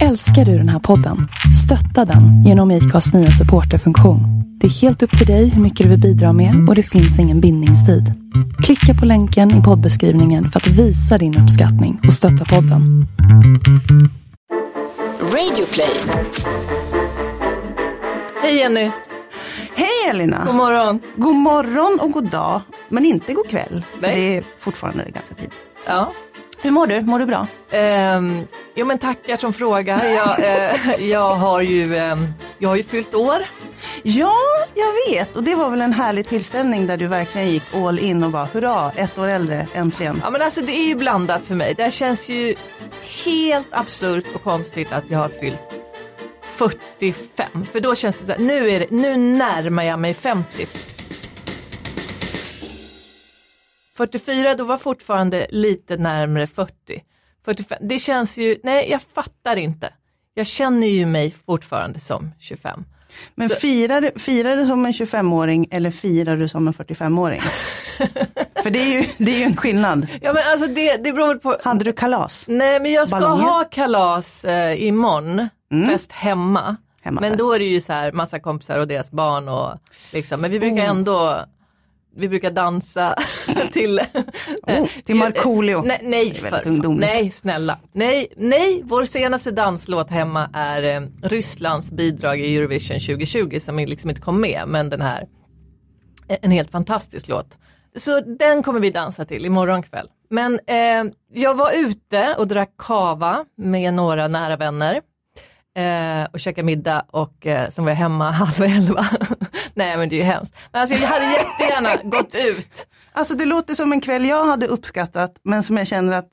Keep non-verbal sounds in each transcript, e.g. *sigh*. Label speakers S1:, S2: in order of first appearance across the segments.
S1: Älskar du den här podden? Stötta den genom IKAs nya supporterfunktion. Det är helt upp till dig hur mycket du vill bidra med och det finns ingen bindningstid. Klicka på länken i poddbeskrivningen för att visa din uppskattning och stötta podden.
S2: Radioplay.
S3: Hej Jenny,
S4: Hej Elina!
S3: god morgon.
S4: God morgon och god dag, men inte god kväll. för
S3: Nej.
S4: Det är fortfarande ganska tidigt.
S3: Ja.
S4: Hur mår du? Mår du bra?
S3: Um, jo men tackar som frågar. Jag, eh, *laughs* jag, har ju, ehm, jag har ju fyllt år.
S4: Ja, jag vet. Och det var väl en härlig tillställning där du verkligen gick all in och bara hurra, ett år äldre, äntligen.
S3: Ja men alltså det är ju blandat för mig. Det här känns ju helt absurt och konstigt att jag har fyllt 45. För då känns det så här, nu, är det, nu närmar jag mig 50. 44, då var jag fortfarande lite närmare 40. 45, det känns ju, nej jag fattar inte. Jag känner ju mig fortfarande som 25.
S4: Men firar, du- firar du som en 25-åring eller firar du som en *laughs* 45-åring? För det är, ju, det är ju en skillnad.
S3: Ja men alltså det, det beror väl på,
S4: Hade du kalas?
S3: Nej men jag ska
S4: Ballonger?
S3: ha kalas eh, imorgon, fest hemma.
S4: Mm. Hemmafest.
S3: Men då är det ju så här massa kompisar och deras barn och liksom, men vi
S4: Oh.
S3: brukar ändå vi brukar dansa *laughs* till...
S4: Oh, till Markoolio.
S3: Nej, nej,
S4: Det är
S3: för,
S4: väldigt
S3: fan.
S4: ungdomligt.
S3: nej, snälla. Nej, nej, vår senaste danslåt hemma är eh, Rysslands bidrag i Eurovision 2020 som liksom inte kom med, men den här. Eh, En helt fantastisk låt. Så den kommer vi dansa till imorgon kväll. Men eh, jag var ute och drack kava med några nära vänner eh, och käkade middag och eh, sen var jag hemma *laughs* halv elva. Nej men det är ju hemskt. Men alltså, jag hade jättegärna gått ut.
S4: Alltså det låter som en kväll jag hade uppskattat, men som jag känner att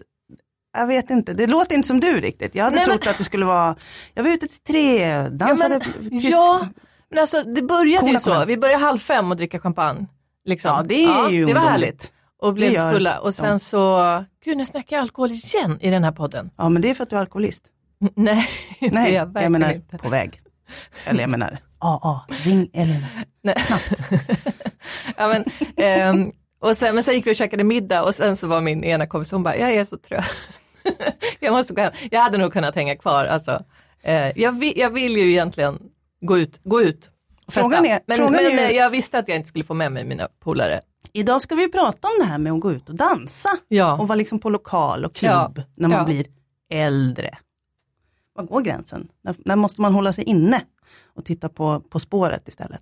S4: jag vet inte, det låter inte som du riktigt. Jag hade
S3: Nej, men-
S4: trott att det skulle vara, jag var ute till tre, dansade
S3: men,
S4: tysk.
S3: ja, men alltså det började ju
S4: Coola
S3: så.
S4: kommer.
S3: Vi började halv fem och dricka champagne. Liksom.
S4: Ja, det är ju
S3: Det var
S4: ungdomligt.
S3: härligt. Och blev
S4: Det gör
S3: fulla. Och
S4: de.
S3: sen så, gud nu snackar jag alkohol igen i den här podden. *laughs*
S4: Ja men det är för att du är alkoholist.
S3: Nej, det är
S4: Nej,
S3: jag
S4: jag,
S3: verkligen
S4: menar
S3: inte.
S4: på väg. Eller jag menar, AA, ring Elina.
S3: Ja, men, ehm, och sen, men sen gick vi och käkade middag och sen så var min ena kompis, hon bara, jag är så trött. *laughs* jag måste gå hem. Jag hade nog kunnat hänga kvar. Alltså. Eh, jag, vill, jag vill ju egentligen gå ut, gå ut och festa.
S4: Frågan är-
S3: men
S4: frågan
S3: men
S4: är ju-
S3: eh, jag visste att jag inte skulle få med mig mina polare.
S4: Idag ska vi prata om det här med att gå ut och dansa.
S3: Ja.
S4: Och vara liksom på lokal och klubb
S3: Ja,
S4: när man
S3: ja.
S4: blir äldre. Var går gränsen? När, när måste man hålla sig inne och titta på På spåret istället?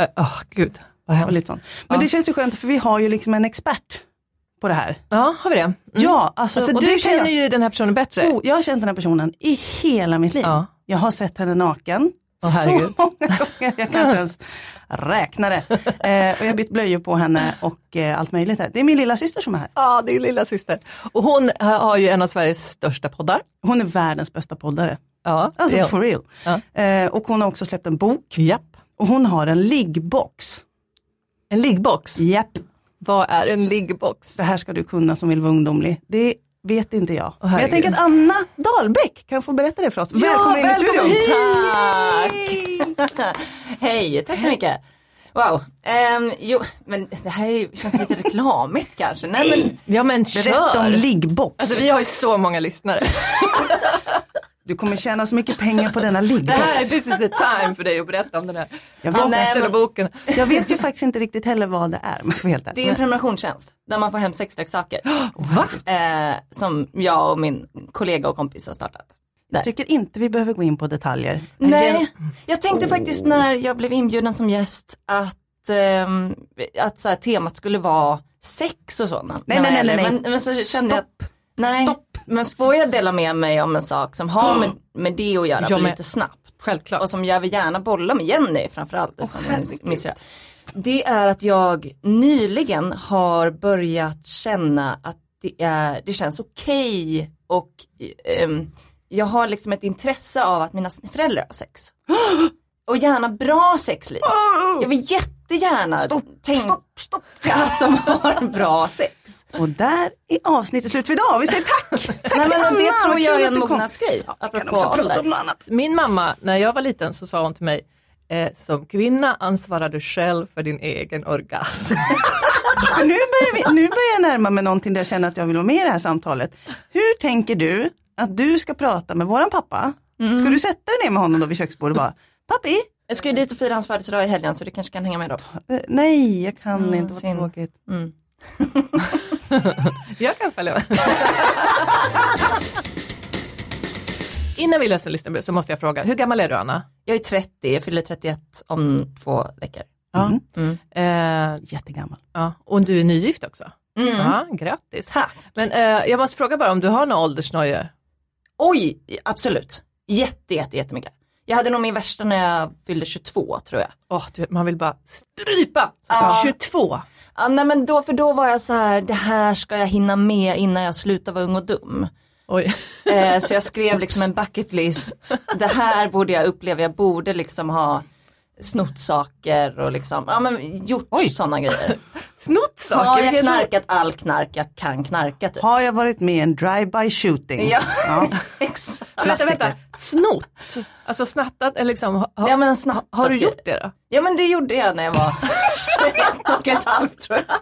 S3: Eh, Åh gud, vad
S4: Och
S3: hemskt.
S4: lite sånt. Men
S3: Ja.
S4: det känns ju skönt för vi har ju liksom en expert på det här.
S3: Ja, har vi det? Mm.
S4: Ja, alltså,
S3: alltså,
S4: och
S3: du
S4: det kan
S3: känner
S4: jag,
S3: ju den här personen bättre.
S4: oh, jag har känt den här personen i hela mitt liv.
S3: Ja.
S4: Jag har sett henne naken.
S3: Åh,
S4: så
S3: herregud.
S4: *laughs* många gånger, jag kan inte ens
S3: *laughs*
S4: räkna det. Eh, och jag har bytt blöjor på henne och eh, allt möjligt. Här. Det är min lilla syster som är här.
S3: Ja, det är lilla syster. Och hon eh, har ju en av Sveriges största poddar.
S4: Hon är världens bästa poddare.
S3: Ja, det
S4: Alltså
S3: är hon.
S4: for real.
S3: Ja.
S4: Eh, och hon har också släppt en bok.
S3: Japp.
S4: Och hon har en liggbox.
S3: En liggbox.
S4: Japp,
S3: Vad är en liggbox?
S4: det här ska du kunna som vill vara ungdomlig. Det vet inte jag.
S3: Åh,
S4: Men jag
S3: herregud.
S4: tänker att Anna Dahlbäck kan få berätta det för oss. välkommen in i
S3: välkommen
S4: studion.
S3: hit!
S5: Tack! Hej, tack så mycket. Wow, Ehm, jo men det här är ju- känns lite reklamigt kanske. Nej, men,
S3: Ja men
S4: Berätta om
S3: kör!
S4: liggbox.
S3: Alltså vi har ju så många lyssnare.
S4: Du kommer tjäna så mycket pengar på denna
S3: *laughs* Det här,
S4: liggbox.
S3: this is the time för dig att berätta om den här
S4: Jag
S5: Ja, nej,
S3: boxen
S5: men-
S3: och boken.
S4: Jag vet ju faktiskt inte riktigt heller vad det är. Men ska vara helt
S5: det är
S4: ärlig.
S5: en prenumerationstjänst där man får hem sexleksaker.
S3: Va?
S5: Eh, som jag och min kollega och kompis har startat.
S4: Jag tycker inte vi behöver gå in på detaljer.
S5: Nej, jag tänkte faktiskt när jag blev inbjuden som gäst att, ehm, att så här, temat skulle vara sex och sådant.
S4: Nej, nej, nej, nej, nej.
S5: Men, men så kände jag att, nej,
S4: Stopp.
S5: men får jag dela med mig om en sak som har med, med det att göra
S3: Ja,
S5: på
S3: men-
S5: lite snabbt.
S3: Självklart.
S5: Och som jag vill gärna bolla med Jenny framförallt. eftersom hon är min syster. det är att jag nyligen har börjat känna att det, är, det känns okej och ehm, jag har liksom ett intresse av att mina föräldrar
S4: *gasps*
S5: har sex. Och gärna bra sexliv. Jag vill jättegärna
S4: Stopp,
S5: tänka
S4: stopp, stopp.
S5: att de har bra sex.
S4: Och där är avsnittet slut för idag. Vi säger tack. tack
S5: Nej,
S4: till
S5: men
S4: Anna.
S5: och det tror
S4: Vad
S5: jag
S4: kul
S5: är
S4: att
S5: en
S4: du kom.
S5: mognadsgrej.
S4: Ja, vi kan
S5: apropå
S4: också prata
S5: ålder.
S4: om något annat.
S3: Min mamma, när jag var liten så sa hon till mig, eh, som kvinna ansvarar du själv för din egen orgasm.
S4: För nu, börjar vi, nu börjar jag närma mig någonting där jag känner att jag vill vara med i det här samtalet. Hur tänker du att du ska prata med våran pappa.
S5: Mm.
S4: Ska du sätta dig ner med honom då vid köksbordet och bara, pappi?
S5: Jag ska ju dit och fira hans födelsedag i helgen så du kanske kan hänga med då.
S4: Eh, Nej, jag kan inte, vad
S5: synd.
S4: tråkigt.
S5: Mm.
S3: Jag kan följa med. *laughs* Innan vi löser listan så måste jag fråga, hur gammal är du Anna?
S5: Jag är 30, jag fyller 31 om två veckor.
S3: Ja.
S4: Mm.
S3: Eh,
S4: Jättegammal.
S3: ja. Och du är nygift också?
S5: Mm.
S3: Ja, grattis.
S5: Tack.
S3: Men eh, jag måste fråga bara om du har några åldersnojor?
S5: Oj, absolut. Jätte, jätte, jättemycket. Jag hade nog min värsta när jag fyllde 22 tror jag.
S3: Åh, du, man vill bara strypa!
S5: Ja.
S3: 22!
S5: Ja, nej men då, för då var jag så här, det här ska jag hinna med innan jag slutar vara ung och dum.
S3: Oj. *laughs*
S5: Eh, så jag skrev liksom en bucket list. Det här borde jag uppleva, jag borde liksom ha snott saker och liksom, ja men gjort
S3: *laughs*
S5: sådana grejer.
S3: Snott saker!
S5: Har jag
S3: Vilken-
S5: knarkat all knark jag kan knarka typ.
S4: Har jag varit med i en drive-by shooting?
S5: Ja,
S4: Ja.
S5: *laughs* exakt.
S3: Vänta, vänta.
S4: Klassiker.
S3: Snott? Alltså snattat? Eller liksom, ha,
S5: Ja, men snabbt,
S3: har du gjort det då?
S5: Ja men det gjorde jag när jag var 21 och ett halvt tror jag.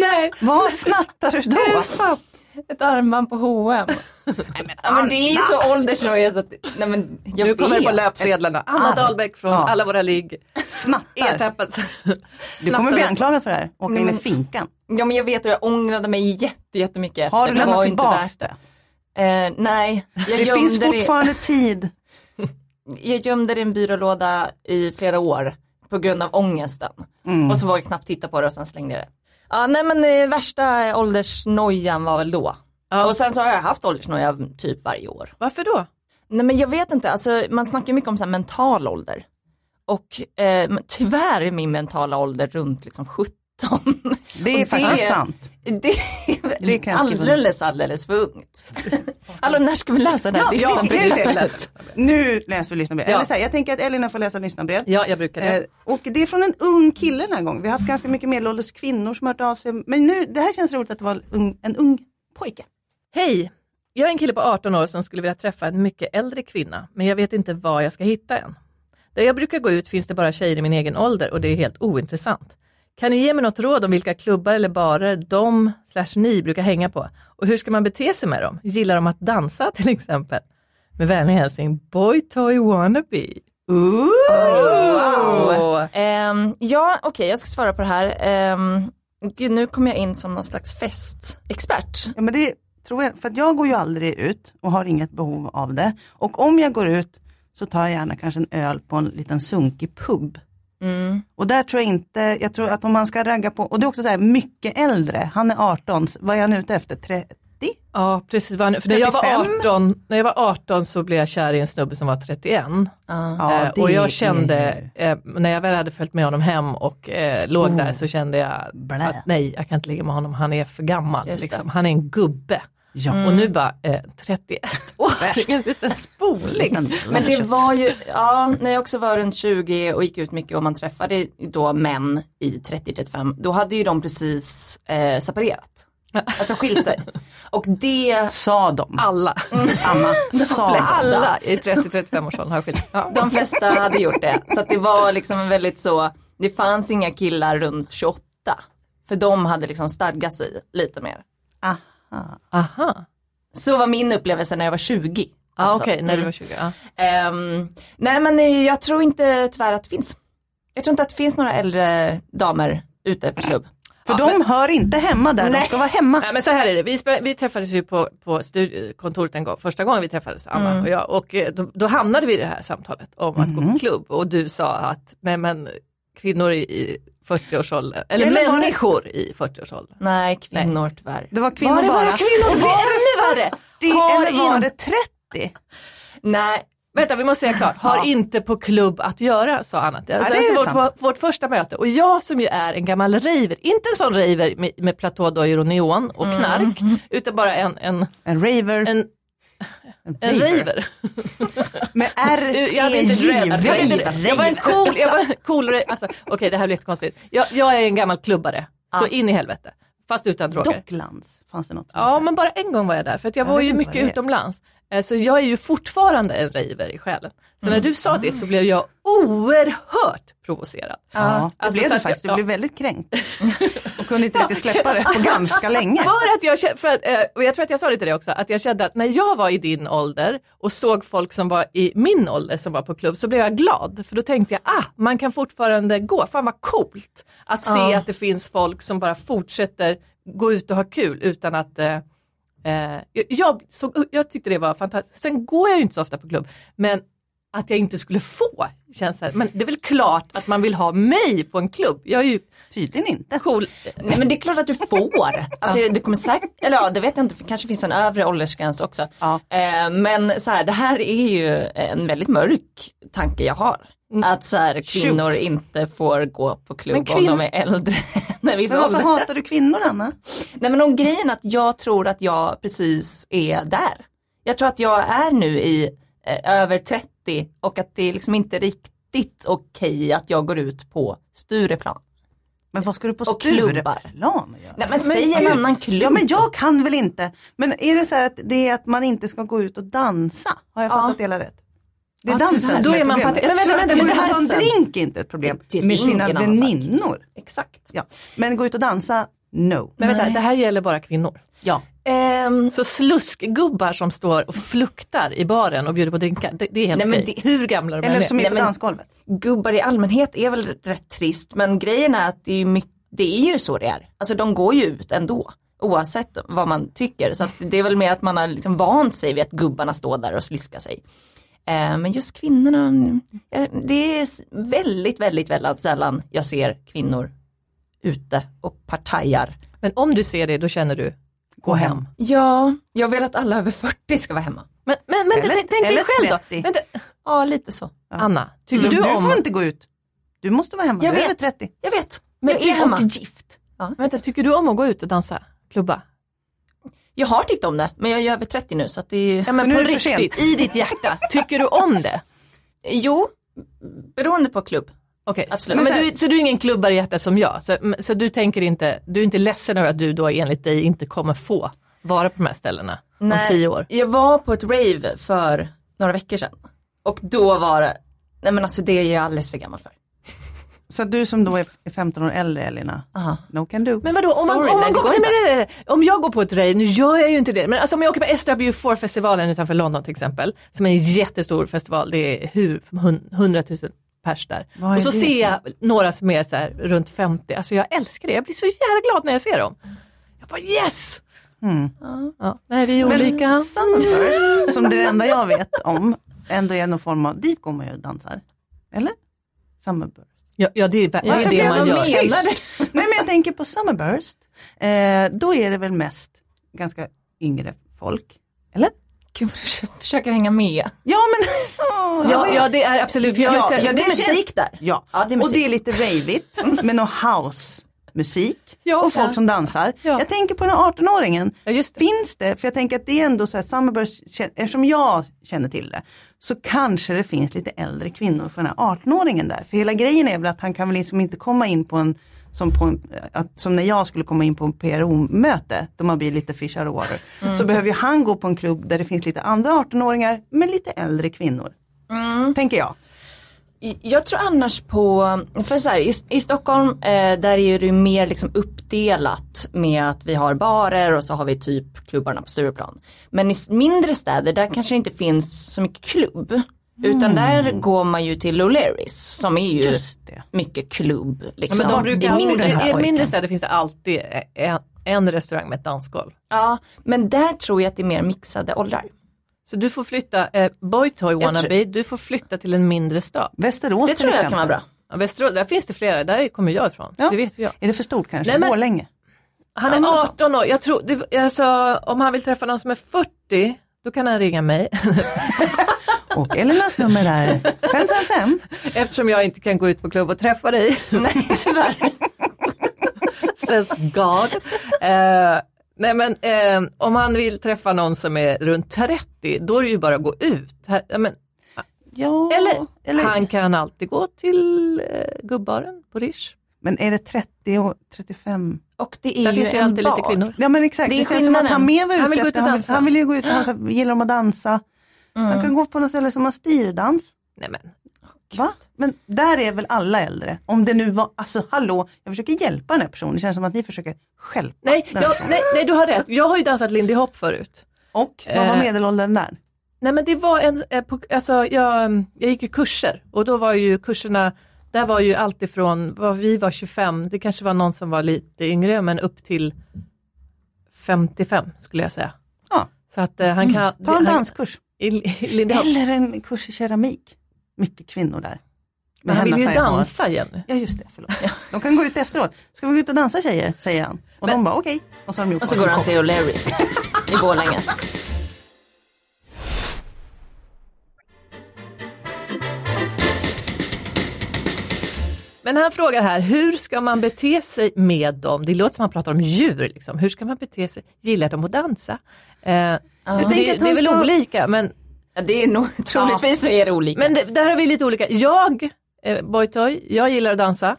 S3: Nej.
S4: Vad snattar du då?
S5: Ett armband på H&M. Ja men det är ju så åldersnojigt att, nej men jag
S3: Du kommer
S5: vet.
S3: på löpsedlarna. Anna Dahlbäck från
S4: Ja.
S3: alla våra ligg.
S4: Snattar.
S3: *laughs* Ertappas.
S4: Du kommer bli anklagad för det här. Åka in i finkan.
S5: Ja men jag vet och jag ångrade mig jätte, jättemycket efter.
S4: Har du
S5: det
S4: lämnat
S5: var inte
S4: tillbaka
S5: värt
S4: det?
S5: det. Eh, nej, jag
S4: Det finns
S5: gömde det,
S4: fortfarande tid.
S5: jag gömde det i en byrålåda i flera år på grund av ångesten.
S4: Mm.
S5: Och så vågade jag knappt titta på det och sen slängde jag det. Ja nej men eh, värsta åldersnojan var väl då.
S3: Ja.
S5: Och sen så har jag haft åldersnoja typ varje år.
S3: Varför då?
S5: Nej men jag vet inte, alltså, man snackar ju mycket om så här mental ålder. Och eh, men tyvärr är min mentala ålder runt liksom 17.
S4: Det är
S5: Och
S4: faktiskt sant.
S5: *laughs* Det är
S4: Det kan jag skriva under.
S5: alldeles, alldeles för ungt. *laughs* Hallå när ska vi läsa den här
S4: Ja,
S5: listan?
S4: det är det.
S3: lätt.
S4: Nu läser vi lyssnarbrev.
S3: Ja.
S4: Eller så här, jag tänker att Elina får läsa lyssnarbrev.
S3: Ja, jag brukar det.
S4: Eh, och det är från en ung kille den här gången. Vi har haft ganska mycket medelålders kvinnor som har hört av sig. Men nu, det här känns roligt att det var ung, en ung pojke.
S3: Hej! Jag är en kille på 18 år som skulle vilja träffa en mycket äldre kvinna, men jag vet inte var jag ska hitta en. Där jag brukar gå ut finns det bara tjejer i min egen ålder och det är helt ointressant. Kan ni ge mig något råd om vilka klubbar eller barer de slash ni brukar hänga på? Och hur ska man bete sig med dem? Gillar de att dansa *laughs* till exempel? Med vänlig hälsning, Boy Toy Wannabe. Uh!
S4: Ooh.
S5: Wow. Ehm, ja okej jag ska svara på det här. Ehm, gud nu kommer jag in som någon slags festexpert.
S4: Ja, men det tror jag, för att jag går ju aldrig ut och har inget behov av det. Och om jag går ut så tar jag gärna kanske en öl på en liten sunkig pub.
S5: Mm.
S4: Och där tror jag inte, jag tror att om man ska ragga på, och det är också så här mycket äldre, han är 18, så vad är han ute efter? 30?
S3: Ja, precis. vad han- För när, jag var
S4: 35?
S3: 18, när jag var 18 så blev jag kär i en snubbe som var 31.
S5: Ja.
S4: Ja,
S3: eh, och
S4: det är
S3: jag kände, eh, när jag väl hade följt med honom hem och eh, låg
S4: Oh.
S3: där så kände jag
S4: Blä.
S3: att nej, jag kan inte ligga med honom, han är för gammal.
S5: Just det.
S3: Liksom. Han är en gubbe.
S4: Ja.
S3: Och nu bara, eh, 31 år, *laughs* det är en liten spoling.
S5: Men det var ju, ja, när jag också var runt 20 och gick ut mycket och man träffade då män i 30-35, då hade ju de precis eh, separerat. Alltså skilt sig. Och det,
S4: Sa de.
S3: Alla,
S4: Mm. Anna, sa de.
S3: alla i 30-35 års åldern har skilt. Ja.
S5: de flesta hade gjort det. Så att det var liksom en väldigt så, det fanns inga killar runt 28. För de hade liksom stadgat sig lite mer.
S4: Aha.
S3: Aha,
S5: Så var min upplevelse när jag var 20.
S3: ah,
S5: alltså.
S3: okej, när du
S5: Mm.
S3: var 20. ja.
S5: Ehm, nej men eh, jag tror inte tyvärr att det finns. Jag tror inte att det finns några äldre damer ute på klubb.
S4: För de hör inte hemma där, de ska vara hemma.
S3: Nej men så här är det, vi, spe- vi träffades ju på, på studi- kontoret en gång, första gången vi träffades Anna
S4: Mm.
S3: och jag och eh, då, då hamnade vi i det här samtalet om att gå på klubb och du sa att nej men kvinnor i, i 40-årsåldern, eller
S4: Eller var det-
S3: människor i 40-årsåldern.
S5: Nej, kvinnor tyvärr.
S4: Det var kvinnor bara.
S5: kvinnor? Var det ännu värre?
S4: Har eller var
S5: in-
S4: det 30?
S5: Nej,
S3: Vänta vi måste säga klart, har
S4: Ja. inte
S3: inte på klubb att göra sa Anna. Det,
S4: det
S3: det
S4: är
S3: är vårt,
S4: sant.
S3: vårt, vårt första möte och jag som ju är en gammal raver, inte en sån raver med, med platådojor och neon och
S4: Mm.
S3: knark
S4: *laughs*
S3: utan bara en, en,
S4: En raver.
S3: en, en raver.
S4: Med R,
S3: *laughs*
S4: E
S3: Jag hade inte dreads. Jag, hade inte dreads. jag var
S4: *laughs*
S3: en cool, jag var en cool re- alltså, okej det här blir jättekonstigt. Jag, jag är en gammal klubbare, så in i helvete. Fast utan droger.
S4: Docklands, fanns det något?
S3: Ja men bara en gång var jag där för att jag,
S4: Jag
S3: var
S4: vet
S3: ju
S4: inte
S3: mycket
S4: vad det är.
S3: utomlands. Eh, Så jag är ju fortfarande en raver i själen. Så
S4: Mm.
S3: när du sa det så blev jag oerhört provocerad.
S4: Ja, det
S3: Alltså,
S4: blev
S3: så
S4: du
S3: att
S4: faktiskt. Du
S3: jag-
S4: blev
S3: *laughs*
S4: väldigt kränkt. Och kunde inte riktigt släppa det på ganska länge.
S3: För att jag, kä- för att, eh, och jag tror att jag sa det till dig också, att jag kände att när jag var i din ålder och såg folk som var i min ålder som var på klubb så blev jag glad. För då tänkte jag, ah, man kan fortfarande gå, fan vad coolt. Att se
S5: Ja.
S3: att det finns folk som bara fortsätter gå ut och ha kul utan att eh, eh, jag, så, jag tyckte det var fantastiskt. Sen går jag ju inte så ofta på klubb, men att jag inte skulle få känns så här, men det är väl klart att man vill ha mig på en klubb. Jag är ju
S4: Tydligen inte.
S3: cool.
S5: Nej men det är klart att du får. Alltså det kommer säkert, eller ja det vet jag inte, för det kanske finns en övre åldersgräns också.
S4: Ja.
S5: Eh, men så här, det här är ju en väldigt mörk tanke jag har. Att så här, kvinnor
S4: Shoot.
S5: inte får gå på klubb
S3: Men
S5: om
S3: kvinn-
S5: de är äldre. *laughs* När vi
S4: Men varför hatar du kvinnor Anna?
S5: Nej men om grejen att jag tror att jag precis är där. Jag tror att jag är nu i eh, över 30 och att det är liksom inte riktigt okej att jag går ut på Stureplan.
S4: Men vad ska du på
S5: Och klubbar.
S4: Stureplan och göra?
S5: Nej men, säg en
S4: gud.
S5: annan klubb.
S4: Ja men jag kan väl inte. Men är det så här att det är att man inte ska gå ut och dansa? Har jag
S5: Ja.
S4: fattat det hela rätt? Det är
S5: Ja,
S4: dansen
S5: tyvärr.
S4: som
S3: Då
S4: är
S3: är man
S4: problemet.
S3: patet- Men
S5: Jag tror
S3: vänta,
S5: att
S3: vänta,
S5: det
S4: Gå ut
S5: är
S4: och ta en
S5: dansen.
S4: drink är inte ett problem.
S5: Det är
S4: Med sina
S5: ingen annan sak.
S4: väninnor.
S5: Exakt.
S4: Ja. Men gå ut och dansa, no.
S3: Men vänta, det här gäller bara kvinnor.
S4: Ja.
S5: Ehm,
S3: Så sluskgubbar som står och fluktar i baren och bjuder på drinkar, det, det är helt
S5: Nej, men
S3: okej. Hur gamla de än
S4: Eller
S3: är.
S4: som är
S5: Nej,
S4: på
S5: men- Mm.
S4: dansgolvet.
S5: gubbar i allmänhet är väl rätt trist men grejen är att det är, ju mycket, det är ju så det är. Alltså de går ju ut ändå oavsett vad man tycker. Så att det är väl mer att man har liksom vant sig vid att gubbarna står där och sliskar sig. Eh, men just kvinnorna, mm, eh, det är s- väldigt, väldigt, väldigt sällan jag ser kvinnor ute och partajar.
S3: Men om du ser det, då känner du, gå hem.
S5: Ja, jag vill att alla över 40 ska vara hemma.
S3: Men, men, men
S4: Eller-
S3: tänk, tänk dig
S4: eller
S3: själv då.
S4: 30.
S3: Vänta,
S5: Ja, lite så.
S3: Anna, tycker
S4: Men
S3: du
S4: du får
S3: om...
S4: inte gå ut. Du måste vara hemma,
S5: Jag
S4: du är över
S5: vet.
S4: 30.
S5: Jag vet,
S3: Men typ
S5: jag är
S3: och
S5: hemma.
S3: gift. Vänta, tycker du om att gå ut och dansa? Klubba?
S5: Jag har tyckt om det, men jag är över 30 nu så att det är...
S3: Ja men
S4: nu
S3: på
S4: är det för
S3: riktigt, i ditt hjärta, tycker du om det?
S5: Jo, beroende på klubb.
S3: Okej,
S5: Absolut.
S3: Men
S5: Men
S3: du, så du är ingen klubbare i hjärtat som jag? Så, m- så du tänker inte, du är inte ledsen över att du då enligt dig inte kommer få vara på de här ställena om tio år?
S5: Jag var på ett rave för några veckor sedan. Och då var det, nej men alltså det är jag alldeles för gammal för.
S4: Så du som då är är 15 år äldre Elina,
S5: Aha.
S4: no can do.
S3: Men vadå, om, man,
S5: Sorry,
S3: om, man
S5: nej, det
S3: går,
S5: går
S3: nej,
S5: inte.
S3: men, nej, nej, nej. om jag går på ett rave, nu gör jag ju inte det, men alltså om jag åker på Estra Biofor-festivalen utanför London till exempel, som är en jättestor festival, det är hur, hun- 100 000 pers där.
S4: Vad är
S3: Och så
S4: det?
S3: ser jag några som är så här runt 50, alltså jag älskar det, jag blir så jävla glad när jag ser dem. Jag bara yes!
S4: Mm.
S3: Ja, nej, vi är olika.
S4: Sunburst, som det är det enda jag vet om, ändå är någon form av, dit går man ju och dansar. Eller? Summerburst.
S3: Ja, ja det är, det, är
S4: Varför
S3: det
S4: blev
S3: man
S4: de
S3: gör.
S4: tyst? Nej men jag tänker på Summerburst, eh, då är det väl mest ganska yngre folk. Eller?
S5: Gud vad du försöker hänga med.
S4: Ja men,
S3: Ja, ja, det är absolut. Jag
S4: Ja,
S3: vill säga-
S4: ja, det är musik
S5: där.
S4: Ja,
S5: Ja, det är
S4: och
S5: musik.
S4: det är lite rejvigt med någon house-musik
S3: Ja.
S4: och folk
S5: Ja.
S4: som dansar.
S3: Ja.
S4: Jag tänker på den här 18-åringen,
S3: Ja, just det.
S4: finns det, för jag tänker att det är ändå så här, Summerburst, kä- eftersom jag känner till det, så kanske det finns lite äldre kvinnor för den här 18-åringen där. För hela grejen är väl att han kan väl liksom inte komma in på en, som, på en, att, som när jag skulle komma in på en PRO-möte, då man blir lite fish out of water. Så behöver ju han gå på en klubb där det finns lite andra 18-åringar, men lite äldre kvinnor. Tänker jag.
S5: Jag tror annars på, för så här, i, i Stockholm eh, där är det ju mer liksom uppdelat med att vi har barer och så har vi typ klubbarna på Stureplan. Men i s- mindre städer där kanske det inte finns så mycket klubb. Utan där går man ju till O'Learys som är ju
S4: Just det.
S5: mycket klubb. Liksom.
S3: Men de
S5: I
S3: brukar,
S5: mindre
S4: den här
S3: I
S4: pojken.
S3: mindre städer finns det alltid en, en restaurang med ett dansgolv.
S5: Ja, men där tror jag att det är mer mixade åldrar.
S3: Så du får flytta, eh, Boytoy
S5: tror-
S3: wannabe, du får flytta till en mindre stad.
S4: Västerås
S5: Det
S4: till
S5: tror jag
S4: exempel.
S5: kan vara bra.
S3: Ja, Västerås, där finns det flera, där kommer jag ifrån.
S4: Ja.
S3: Det vet jag.
S4: Är det för stort kanske?
S3: Nej, men-
S4: Borlänge?
S3: Han är
S5: Ja, så.
S3: 18 år, jag tror, det, alltså, om han vill träffa någon som är 40, då kan han ringa mig.
S4: Och Elinas nummer är 555.
S3: *laughs* Eftersom jag inte kan gå ut på klubb och träffa *laughs* dig.
S5: Nej,
S3: *laughs*
S5: tyvärr.
S3: Thanks God. Eh, nej men eh, om han vill träffa någon som är runt 30, då är det ju bara att gå ut. Här, ja, men,
S4: Ja,
S3: eller, han kan alltid gå till eh, gubbaren på Rish.
S4: Men är det 30 och 35?
S5: Och det är
S3: Där
S5: ju
S3: finns ju
S5: en
S3: alltid
S5: bar.
S3: lite kvinnor.
S4: Ja men exakt,
S5: Det
S4: det,
S5: är
S4: känns som att
S5: skillnaden.
S4: han mer var
S3: Han vill
S4: ute
S3: gå
S4: efter,
S3: ut och
S4: han,
S3: dansa. Mm.
S4: han vill ju gå ut
S3: *gasps*
S4: och dansa, gillar de att dansa. Man kan gå på något ställe som har styrdans.
S3: Nej, men.
S4: Va? Men där är väl alla äldre? Om det nu var, alltså hallå, jag försöker hjälpa den här personen, det känns som att ni försöker stjälpa.
S3: Nej,
S4: den.
S3: jag, nej, nej, du har rätt. Jag har ju dansat Lindy Hop förut.
S4: Och vad var
S3: Eh.
S4: medelåldern där?
S3: Nej men det var en, eh, på- alltså jag, mm, jag gick ju kurser och då var ju kurserna, där var ju alltifrån, vad vi var 25, det kanske var någon som var lite yngre, men upp till 55 skulle jag säga.
S4: Ja. Mm.
S3: Så att eh, han kan...
S4: Ta en
S3: han-
S4: danskurs.
S3: i Li- Lindy Hop.
S4: Eller en kurs i keramik. Mycket kvinnor där.
S3: Men han
S4: Henna
S3: vill ju
S4: Seidenberg.
S3: dansa Jenny.
S4: Ja just det, förlåt. De kan gå ut efteråt. Ska vi gå ut och dansa tjejer? Säger han. Och de bara okej. Och så har de gjort
S5: Och så
S4: vad
S5: går
S4: som
S5: han
S4: kom.
S5: till O'Learys i Borlänge.
S3: Men han frågar här, hur ska man bete sig med dem? Det låter som han pratar om djur. Liksom. Hur ska man bete sig? Gillar de att dansa? Eh, det,
S4: tänker att
S3: det är
S4: han
S3: väl
S4: ska-
S3: olika, men,
S5: Ja, det är nog, troligtvis så är det olika.
S3: men det, där har vi lite olika. Jag, eh, Boytoy, jag gillar att dansa.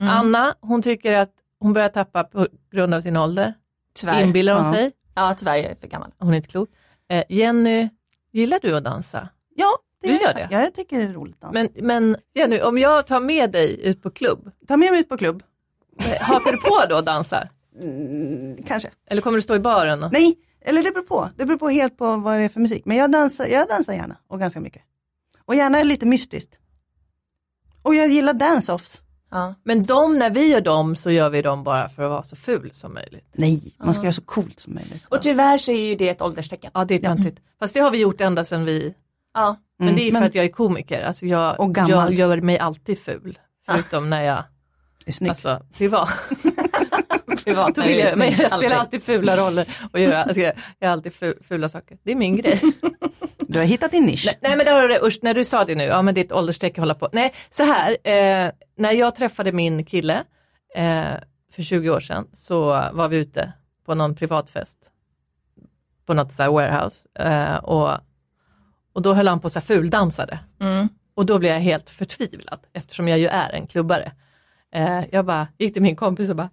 S4: Mm.
S3: Anna, hon tycker att hon börjar tappa på grund av sin ålder.
S5: tyvärr.
S3: Inbillar hon
S4: Ja.
S3: sig.
S5: Ja tyvärr, jag är för gammal.
S3: Hon är inte klok. Eh, Jenny, gillar du att dansa?
S4: Ja, det
S3: Du
S4: gör
S3: gör
S4: jag.
S3: det?
S4: Ja, jag tycker det är roligt. att dansa.
S3: Men, men Jenny, om jag tar med dig ut på klubb,
S4: Ta med mig ut på klubb.
S3: eh, hakar du på då och dansar?
S4: Mm, Kanske.
S3: Eller kommer du stå i baren? Och...
S4: Nej, eller det beror på. Det beror på helt på vad det är för musik. Men jag dansar, jag dansar gärna och ganska mycket. Och gärna lite mystiskt. Och jag gillar dance-offs.
S5: Ja.
S3: Men de, när vi gör dem så gör vi dem bara för att vara så ful som möjligt.
S4: Nej, man ska göra så coolt som möjligt.
S5: Och tyvärr så är ju det ett ålderstecken.
S3: Ja, det är töntigt. Fast det har vi gjort ända sedan vi...
S5: Ja.
S3: Men det är ju för
S4: Mm. men-
S3: att jag är komiker. Alltså jag,
S4: Och gammal.
S3: jag gör mig alltid ful. Förutom när jag,
S4: Det är snyggt.
S3: alltså
S4: *laughs*
S3: privat.
S5: Privat
S3: Då vill jag, men jag spelar
S5: alltid.
S3: alltid fula roller och gör, alltså, jag gör alltid fu- fula saker. Det är min
S4: *laughs*
S3: grej.
S4: Du har hittat din nisch.
S3: Nej men det har du usch, när du sa det nu, ja men det är ett ålderstecken att hålla på. Nej, så här, eh, när jag träffade min kille eh, för 20 år sedan så var vi ute på någon privatfest på något så här warehouse eh, och, och då höll han på så här fuldansade.
S5: Mm.
S3: Och då blev jag helt förtvivlad eftersom jag ju är en klubbare. Eh, jag bara gick till min kompis och bara,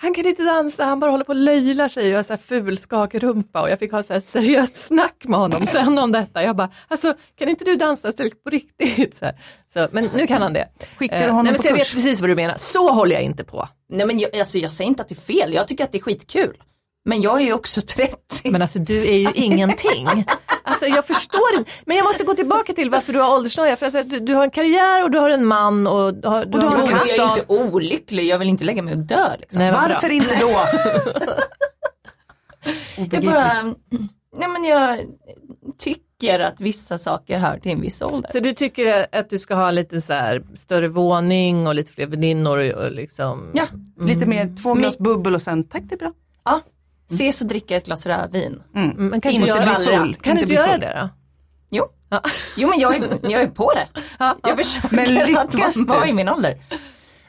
S3: han kan inte dansa, han bara håller på och löjlar sig och har så här ful skakrumpa och jag fick ha så här seriöst snack med honom
S4: *laughs*
S3: sen om detta. Jag bara, alltså kan inte du dansa ställt på riktigt? Så här. Så, men nu kan han det. Eh,
S4: Skickar du honom
S3: nej, men
S4: på
S3: så jag vet
S4: kurs?
S3: precis vad du menar, så håller jag inte på.
S5: Nej men jag, alltså, jag säger inte att det är fel, jag tycker att det är skitkul. Men jag är ju också 30.
S3: Men alltså du är
S4: *laughs*
S3: ju ingenting. Alltså jag förstår inte. Men jag måste gå tillbaka till varför du har åldersnoja. För alltså, du, du har en karriär och du har en man och du har, du
S4: du har en
S5: Och
S3: bostad.
S5: jag är inte olycklig, jag vill inte lägga mig och dö liksom.
S3: Nej, vad bra.
S4: Varför inte
S3: *laughs*
S4: då?
S5: jag
S4: Obegripligt.
S5: bara, nej men jag tycker att vissa saker hör till en viss ålder.
S3: Så du tycker att du ska ha lite så här större våning och lite fler väninnor och, och liksom.
S5: Ja,
S4: Lite mer, två
S3: Mm.
S4: glas bubbel och sen tack det är bra.
S5: ja. ses och dricka ett glas rödvin.
S3: Mm, Men kan inte
S4: Inte
S3: göra,
S4: bli full.
S3: Kan du
S4: Inte
S3: inte
S4: bli
S3: göra
S4: full.
S3: det
S5: Jo. jo men jag är, jag är på det.
S3: då?
S5: Jag försöker
S4: Men
S5: att
S4: lyckas du?
S5: vara- vara i min ålder.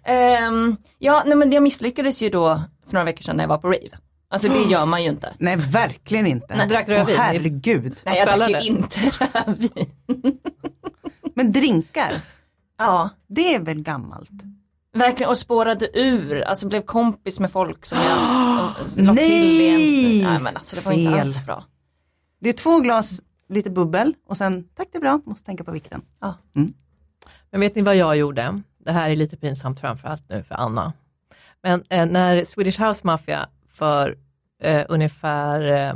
S5: Ehm, ja, nej men jag misslyckades ju då för några veckor sedan när jag var på rave. Alltså det
S4: Mm.
S5: gör man ju inte.
S4: Nej, verkligen inte.
S3: Nej, drack
S4: Åh,
S3: rödvin.
S4: herregud.
S5: Nej jag drack ju
S3: spännande.
S5: inte *laughs* rödvin.
S4: Men drinkar,
S5: Ja,
S4: det är väl gammalt?
S5: verkligen och spårade ur, alltså blev kompis med folk som jag
S4: *gasps*
S5: la till i
S4: nej!
S5: ens. Nej men alltså det var inte
S4: Fel.
S5: alls bra.
S4: Det är två glas, lite bubbel och sen tack det är bra, måste tänka på vikten.
S5: Ja.
S3: Men vet ni vad jag gjorde? Det här är lite pinsamt framförallt nu för Anna. Men eh, när Swedish House Mafia för eh, ungefär eh,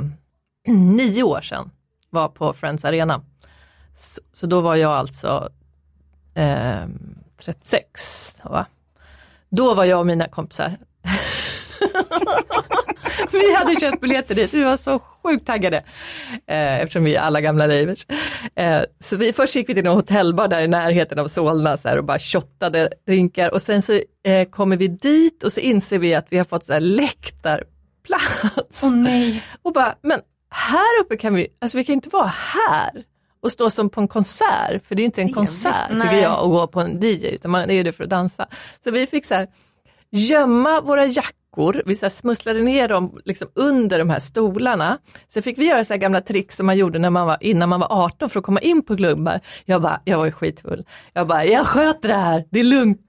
S3: *clears throat* nio år sedan var på Friends Arena. Så, så då var jag alltså eh, 36. Va? Då var jag och mina kompisar. *laughs* vi hade köpt biljetter dit, vi var så sjukt taggade. Eh, eftersom vi är alla gamla ravers. Eh, så vi, först gick vi till någon hotellbar där i närheten av Solna så här, och bara shottade drinkar och sen så eh, kommer vi dit och så inser vi att vi har fått så här läktarplats.
S5: nej.
S3: Och bara, men här uppe kan vi, alltså vi kan inte vara här och stå som på en konsert, för det är inte en konsert tycker
S5: Nej.
S3: jag att gå på en DJ, utan man är ju det för att dansa. Så vi fick så här, gömma våra jackor, vi så här smusslade ner dem liksom under de här stolarna. Sen fick vi göra så här gamla tricks som man gjorde när man var, innan man var 18 för att komma in på klubbar. Jag bara, jag var ju skitfull. Jag bara, jag sköter det här, det är lugnt.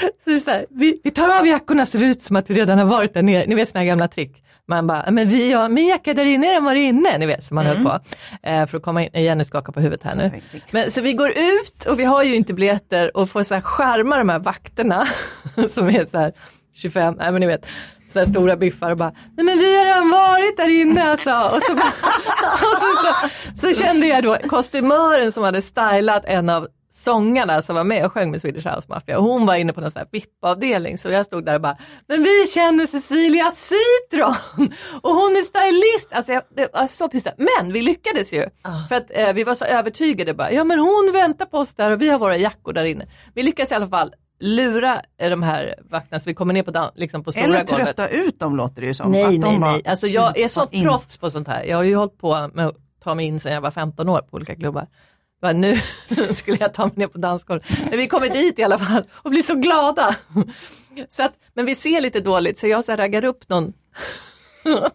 S3: Så det är så här, vi, vi tar av jackorna så det ser ut som att vi redan har varit där nere. Ni vet sådana här gamla trick. Man bara, men vi, ja, min jacka där inne, den var inne, ni vet som man höll på. Eh, för att komma in, Jenny skakar på huvudet här nu. Men, så vi går ut och vi har ju inte biljetter och får så här skärma de här vakterna *laughs* som är så här 25, nej men ni vet, så här stora biffar och bara, nej men vi har redan varit där inne alltså. Och så, bara, *laughs* och så, så, så kände jag då kostymören som hade stylat en av sångarna som var med och sjöng med Swedish House Mafia och hon var inne på någon sån här VIP-avdelning så jag stod där och bara, men vi känner Cecilia Citron och hon är stylist. Alltså jag, det var så pissad. Men vi lyckades ju för att eh, vi var så övertygade bara, ja men hon väntar på oss där och vi har våra jackor där inne. Vi lyckades i alla fall lura eh, de här vakterna så vi kommer ner på, dan- liksom på stora
S4: Eller
S3: golvet.
S4: trötta ut dem låter det ju som.
S3: Nej,
S4: att de
S3: nej,
S4: bara-
S3: nej. Alltså jag är sånt
S4: in.
S3: proffs på sånt här. Jag har ju hållit på med att ta mig in sedan jag var 15 år på olika klubbar. Bara, nu *laughs* skulle jag ta mig ner på dansgolvet. Men vi kommer dit i alla fall och blir så glada. Så att, men vi ser lite dåligt så jag så här raggar upp någon *laughs*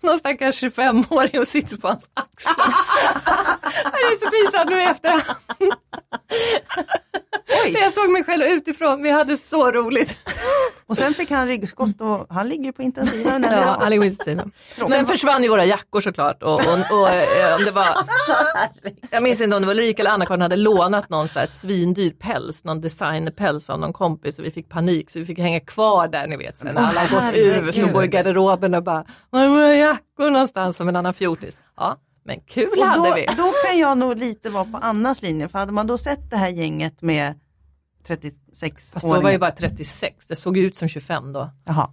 S3: någon stackars 25-åring och sitter på hans axel. *laughs* Det är så pinsamt nu i efterhand. Jag såg mig själv utifrån, vi hade så roligt.
S4: Och sen fick han ryggskott och han ligger ju på intensiven. eller?
S3: *laughs* Ja, han ligger på intensiven. Sen försvann ju våra jackor såklart. Och, och, och, eh, om det var, jag minns inte om det var Lika eller Anna-Karin hade lånat någon så här svindyr päls, någon designpäls av någon kompis och vi fick panik så vi fick hänga kvar där ni vet. Sen när alla har gått ut och går i garderoben och bara, var är våra jackor någonstans som en annan fjortis? Ja, men kul
S4: Och
S3: hade
S4: då,
S3: vi.
S4: då kan jag nog lite vara på Annas linje, för hade man då sett det här gänget med 36
S3: Fast då var jag ju
S4: åringar
S3: bara 36, det såg ju ut som 25 då.
S4: Jaha.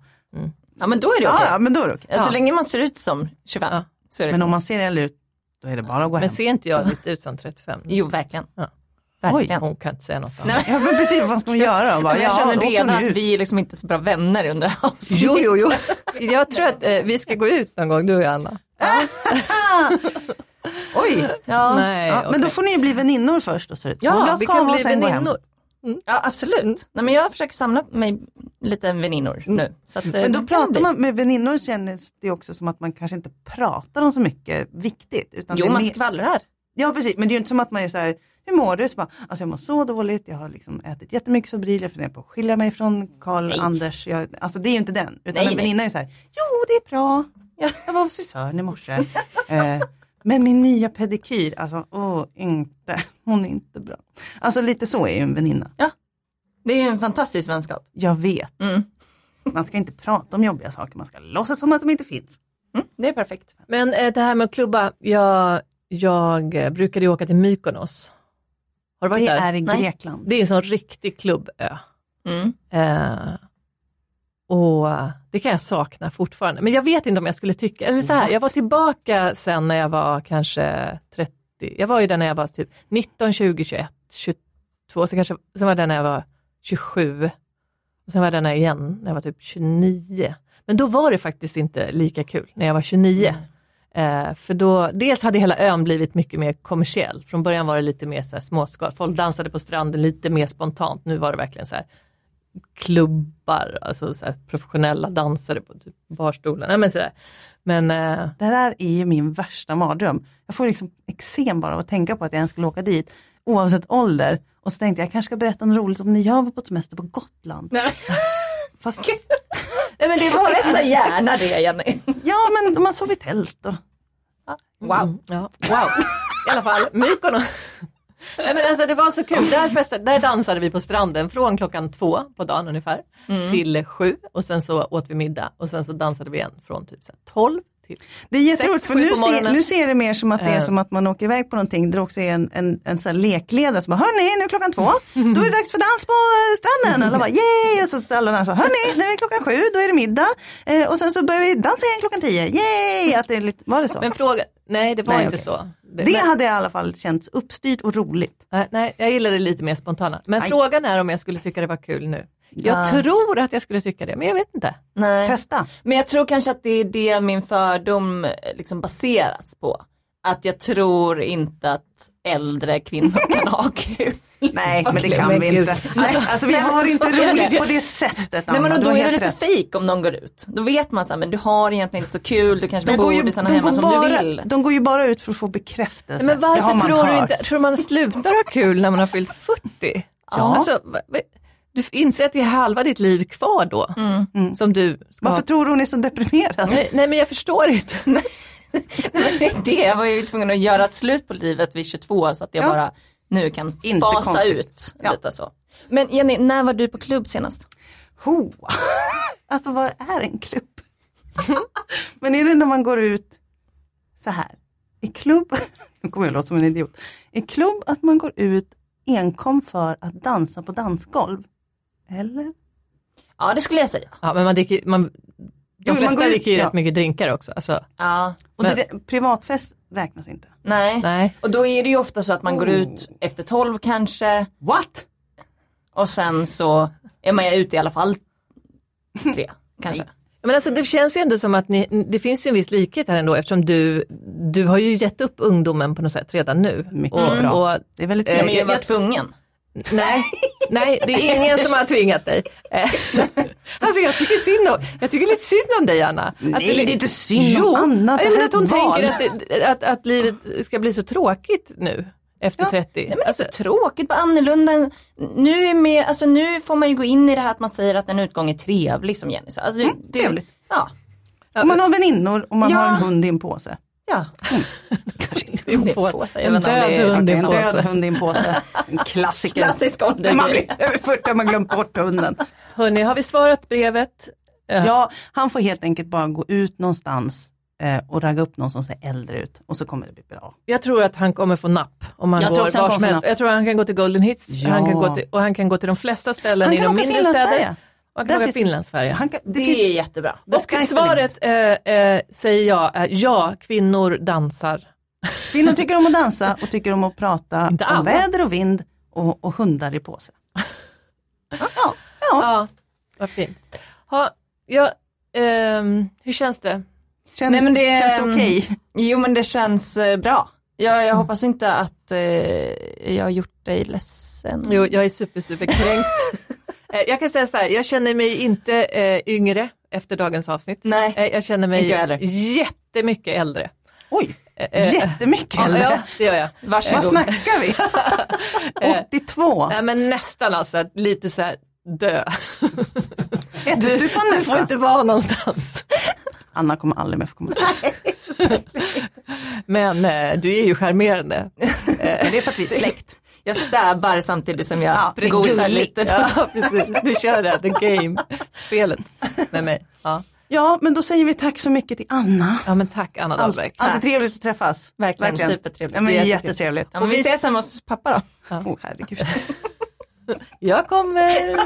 S5: Ja men då är det
S4: Ja,
S5: okej. Alltså,
S4: ja, men då är det okej.
S3: Alltså,
S5: Så
S4: Ja.
S5: länge man ser ut som 25
S3: Ja.
S5: så är det
S4: Men om man ser äldre ut, då är det bara att gå hem.
S3: Men ser inte jag lite ut som 35?
S5: Jo verkligen.
S3: Ja.
S5: Verkligen.
S3: Hon kan inte säga något annat.
S5: Nej,
S4: *laughs* Ja, men precis, vad ska man göra då? Bara,
S5: men *laughs* jag
S4: ja,
S5: känner
S4: då åker
S5: redan
S4: ni
S5: att
S4: ut.
S5: vi är liksom inte så bra vänner under avsnittet.
S3: Jo, jo, jo. Jag tror att eh, vi ska gå ut någon gång, du och jag, Anna.
S4: Oj,
S5: Ja.
S3: Nej,
S4: *laughs* ja, men då
S3: okej.
S4: får ni bli väninnor först. Och så. Två
S3: ja,
S4: glas
S3: vi
S4: kava
S3: kan
S4: och
S3: bli Mm.
S4: sen gå hem. Mm.
S3: väninnor.
S5: Ja absolut. Nej, men jag försöker samla mig lite väninnor nu. Så att, eh,
S4: Men
S5: det
S4: då
S5: kan
S4: pratar
S5: bli.
S4: man med väninnor känns det också som att man kanske inte pratar om så mycket viktigt. Utan det
S5: Jo
S4: är
S5: man
S4: mer-
S5: skvallrar.
S4: Ja precis, men det är ju inte som att man är så här, hur mår du? Så bara, alltså jag mår så dåligt, jag har liksom ätit jättemycket Sobril, jag funderar på att skilja mig från Karl
S5: Nej.
S4: Anders. Jag, alltså det är ju inte den, utan
S5: Nej,
S4: en väninna är ju så här, jo det är bra,
S5: Ja.
S4: jag var hos frisören i morse. eh, men min nya pedikyr, alltså åh, inte, hon är inte bra. Alltså lite så är ju en väninna.
S5: Det är ju en fantastisk vänskap.
S4: Jag vet,
S5: Mm.
S4: man ska inte prata om jobbiga saker, man ska låtsas som att de inte finns.
S5: Mm, det är perfekt.
S3: Men eh, det här med att klubba, jag, jag eh, brukade ju åka till Mykonos. Har du varit
S4: Det
S3: där?
S4: är i
S5: Nej.
S4: Grekland.
S3: Det är en sån riktig klubbö.
S5: Mm.
S3: Eh, och det kan jag sakna fortfarande. Men jag vet inte om jag skulle tycka, eller så här, jag var tillbaka sen när jag var kanske 30, jag var ju där när jag var typ 19, 20, 21, 22, så kanske, sen var jag där när jag var 27. Och sen var jag där när jag igen när jag var typ 29. Men då var det faktiskt inte lika kul när jag var 29. Eh, för då, dels hade hela ön blivit mycket mer kommersiell. Från början var det lite mer så här småskal. Folk dansade på stranden lite mer spontant. Nu var det verkligen så här klubbar, alltså så här professionella dansare på typ barstolarna. Nej, Men, så där. men eh,
S4: Det här är ju min värsta mardröm. Jag får liksom eksem bara av att tänka på att jag ens skulle åka dit, oavsett ålder. Och så tänkte jag, jag kanske ska berätta något roligt om när jag var på semester på Gotland.
S5: Nej,
S4: *laughs* Fast,
S3: nej, men det
S5: men
S3: var...
S5: berätta gärna det Jenny.
S4: ja men man sov i tält och
S5: Wow.
S3: mm, Ja. Wow, i alla fall Mykonos. Nej, men alltså, det var så kul, där, festade, där dansade vi på stranden från klockan två på dagen ungefär till sju och sen så åt vi middag och sen så dansade vi igen från typ så här, tolv till
S4: Det är jätteroligt för
S3: sju
S4: nu
S3: på
S4: ser,
S3: morgonen.
S4: nu ser det mer som att det är
S3: Eh.
S4: som att man åker iväg på någonting där det också är en, en, en sån här lekledare som bara, hörni nu är klockan
S3: *laughs*
S4: två, då är det dags för dans på eh, stranden. Och alla bara, yay! Och så står alla och dansar, hörni nu är klockan sju, då är det middag. Eh, och sen så börjar vi dansa igen klockan tio, yay! Att det är lite, var det så?
S3: Men fråga, nej det var
S4: Nej,
S3: inte
S4: okej.
S3: så. Det,
S4: det
S3: men,
S4: hade i alla fall känts uppstyrt och roligt.
S3: nej, nej, jag gillar det lite mer spontana. Men
S4: Aj.
S3: frågan är om jag skulle tycka det var kul nu. Jag
S5: Ja.
S3: tror att jag skulle tycka det, men jag vet inte.
S5: Nej.
S4: Testa.
S5: Men jag tror kanske att det är det min fördom eh, liksom baseras på. Att jag tror inte att äldre kvinnor kan ha kul.
S4: Nej, men det
S5: Verkligen.
S4: kan
S3: Men
S4: vi
S3: gud.
S4: inte. Alltså, alltså vi har
S5: men
S4: inte
S5: så är
S4: roligt
S5: det.
S4: på det sättet
S5: Nej men
S4: Anna.
S5: och
S4: Du
S5: då
S4: har
S5: är det
S4: helt
S5: lite
S4: rätt.
S5: fejk om någon går ut. Då vet man så här, men du har egentligen inte så kul, du kanske bor i sådana hemma som
S4: bara,
S5: du *laughs* vill.
S4: de går ju bara ut för att få bekräftelse.
S3: Men
S4: Det har
S3: varför
S4: man
S3: tror
S4: hört.
S3: du inte, tror du man slutar ha kul när man har fyllt 40?
S4: Ja.
S3: Alltså, va- va- Du inser att det är halva ditt liv kvar då.
S4: Mm.
S3: Som du ska
S4: Varför
S3: ha.
S4: tror du hon är så deprimerad?
S5: Mm.
S3: Nej, nej men jag förstår
S4: *laughs*
S3: inte.
S5: Det är det, jag var ju tvungen att göra ett slut på livet vid 22 så att jag
S4: Ja.
S5: bara nu kan
S4: Inte
S5: fasa
S4: konstigt.
S5: ut
S4: Ja.
S5: lite så. Men Jenny, när var du på klubb senast?
S4: Ho! *laughs* Alltså vad är en klubb? *laughs* Men är det när man går ut så här? I klubb, *laughs* nu kommer jag låta som en idiot. I klubb att man går ut enkom för att dansa på dansgolv. Eller?
S5: Ja det skulle jag säga.
S3: Ja, men man dricker, man, de
S4: Jo, man
S3: flesta
S4: går ut-
S3: dricker ju
S4: ja.
S3: rätt mycket drinkar också. Alltså,
S5: Ja,
S4: Och
S3: Men-
S4: det, privatfest räknas inte.
S5: nej. Oh.
S3: nej.
S5: Och då är det ju ofta så att man går ut efter 12 kanske
S4: What?
S5: och sen så är man ute i alla fall *laughs* tre kanske.
S3: Men alltså, det känns ju ändå som att ni, det finns ju en viss likhet här ändå eftersom du, du har ju gett upp ungdomen på något sätt redan nu.
S4: Mycket
S3: och,
S4: bra.
S3: Och,
S4: Det är väldigt
S3: Eh,
S5: Ja,
S4: fint.
S5: men jag var tvungen.
S3: nej, nej, det *laughs* är ingen som har tvingat dig. Eh, *laughs* alltså jag tycker, synd om, jag tycker lite synd om dig Anna. Att
S4: Nej,
S3: du-
S4: alltså, det är inte synd om
S3: jo,
S4: Anna, det
S3: Jag
S4: här
S3: menar
S4: är
S3: att hon
S4: ett val.
S3: tänker att, det- att, att livet ska bli så tråkigt nu efter 30. alltså,
S4: typ-
S5: Tråkigt, bara annorlunda. än- Nu, är med, alltså, nu får man ju gå in i det här att man säger att en utgång är trevlig som Jenny sa. Alltså, det,
S4: Mm, trevligt.
S5: Ja,
S4: Och man har väninnor och man
S5: Ja.
S4: har en hund i en påse.
S5: ja.
S4: *laughs*
S3: det är
S5: det är
S3: på-
S5: så, säger
S3: en
S5: man aldrig.
S3: död hund i
S4: Okej,
S3: en
S4: en död
S3: påse.
S4: hund i en påse. En klassiker.
S5: klassisk
S4: När man
S5: åldergrej.
S4: blir över 40 har man glömt bort hunden.
S3: Hörni, har vi svarat brevet?
S4: Ja, han får helt enkelt bara gå ut någonstans eh, och ragga upp någon som ser äldre ut och så kommer det bli bra.
S3: Jag tror att han kommer få napp om han
S4: Jag tror
S3: går
S4: också han
S3: var som
S4: kommer få
S3: helst.
S4: napp.
S3: Jag tror att han kan gå till Golden Hits
S4: Ja.
S3: han kan gå till, och han kan gå till de flesta ställen
S4: Han
S3: i
S4: kan
S3: de
S4: åka
S3: mindre
S4: Finlands-Sverige.
S3: städer. Och han
S4: Där
S3: kan åka
S4: finns det-
S3: Finlandsfärja.
S4: Han kan, det
S5: Det
S4: finns,
S5: är jättebra.
S4: det
S3: Och
S4: ska inte
S3: svaret eh, eh, säger jag är ja, kvinnor dansar.
S4: Kvinnor tycker om att dansa och tycker om att prata
S3: Inte alla.
S4: om väder och vind och, och hundar i påse. Ja, ja, ja.
S3: Ja, vad fint. Ha, ja, ehm, hur känns det?
S4: Känn,
S5: Nej, men det-
S4: känns det okej?
S5: Jo men det känns eh, bra. Jag,
S4: Mm.
S5: jag hoppas inte att eh, jag har gjort dig ledsen.
S3: Jo, jag är super, super
S5: *laughs*
S3: kränkt. eh, jag kan säga så här, jag känner mig inte eh, yngre efter dagens avsnitt.
S5: Nej.
S3: Eh, jag känner mig
S5: Inte jag heller.
S3: jättemycket äldre.
S4: Oj,
S3: eh,
S4: jättemycket
S3: Ja,
S4: äldre.
S3: ja, det gör
S5: *laughs*
S3: jag.
S4: Vad
S5: Varsågod.
S4: snackar vi? 82,
S3: Eh, Nej men nästan alltså, att lite så här
S5: *laughs*
S3: dö.
S4: ättestupan
S3: Du får
S4: nästan.
S3: inte vara någonstans.
S4: Anna kommer aldrig mer få komma hit.
S3: Men eh, du är ju charmerande.
S4: Men det är för att vi är släkt.
S5: Jag stäbar samtidigt som jag
S4: Ja, precis.
S5: gosar lite.
S3: *laughs* Ja, precis. Du kör det, här, the game, spelet med mig. Ja,
S4: Ja, men då säger vi tack så mycket till Anna.
S3: ja men tack Anna
S4: Allt-
S3: Dahlbeck.
S4: Alltid trevligt att träffas.
S5: Verkligen, supertrevligt.
S4: Ja, men
S5: Det är
S4: jättetrevligt.
S5: Ja, men vi
S3: Och vi-
S5: ses hemma hos pappa då.
S4: Åh herregud.
S3: Jag kommer.